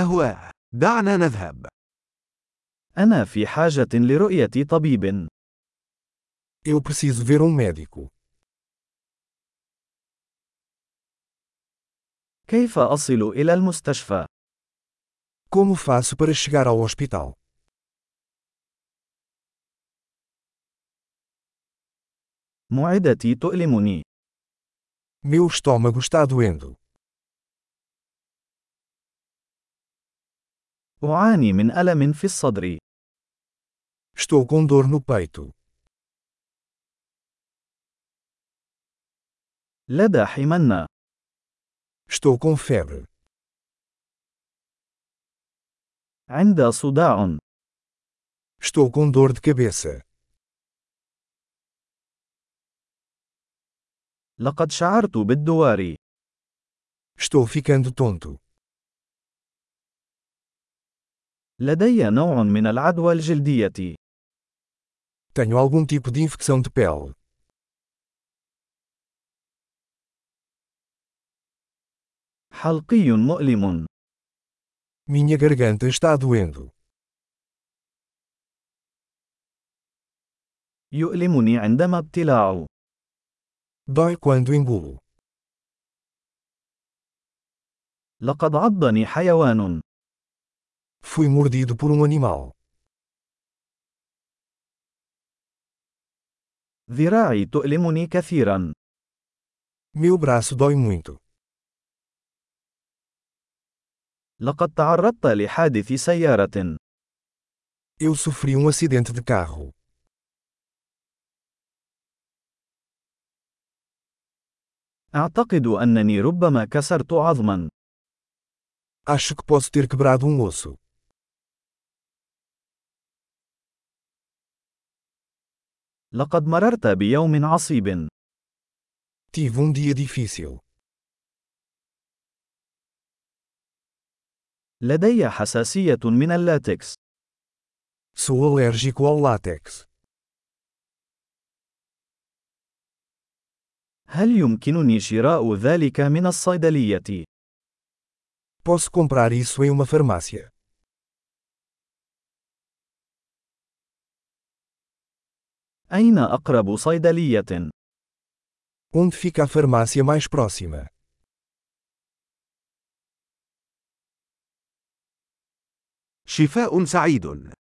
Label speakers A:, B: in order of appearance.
A: أهواه. دعنا نذهب.
B: أنا في حاجة لرؤية طبيب.
C: Eu preciso ver um médico.
B: كيف أصل إلى المستشفى؟
C: Como faço para chegar ao hospital?
B: معدتي تؤلمني.
C: Meu estômago está doendo.
B: أعاني من ألم في الصدر.
C: Estou com dor no peito.
B: لدى حمنة.
C: Estou com febre.
B: عند صداع.
C: Estou com dor de cabeça.
B: لقد شعرت بالدوار.
C: Estou ficando tonto.
B: لدي نوع من العدوى الجلدية.
C: Tenho algum tipo de infecção de pele.
B: حلقي مؤلم.
C: Minha garganta está doendo.
B: يؤلمني عندما ابتلاع.
C: Dói quando engulo.
B: لقد عضني حيوان.
C: Fui mordido por um animal.
B: ذراعي تؤلمني كثيرا.
C: Meu braço dói muito.
B: لقد تعرضت لحادث سيارة.
C: Eu sofri um acidente de carro.
B: أعتقد أنني ربما كسرت عظما.
C: Acho que posso ter quebrado um osso.
B: لقد مررت بيوم عصيب.
C: Tive um dia difícil.
B: لدي حساسية من اللاتكس.
C: Sou alérgico ao látex.
B: هل يمكنني شراء ذلك من الصيدلية؟
C: Posso comprar isso em uma farmácia.
B: أين أقرب صيدلية؟
C: Onde fica a farmácia mais próxima?
A: شفاء سعيد.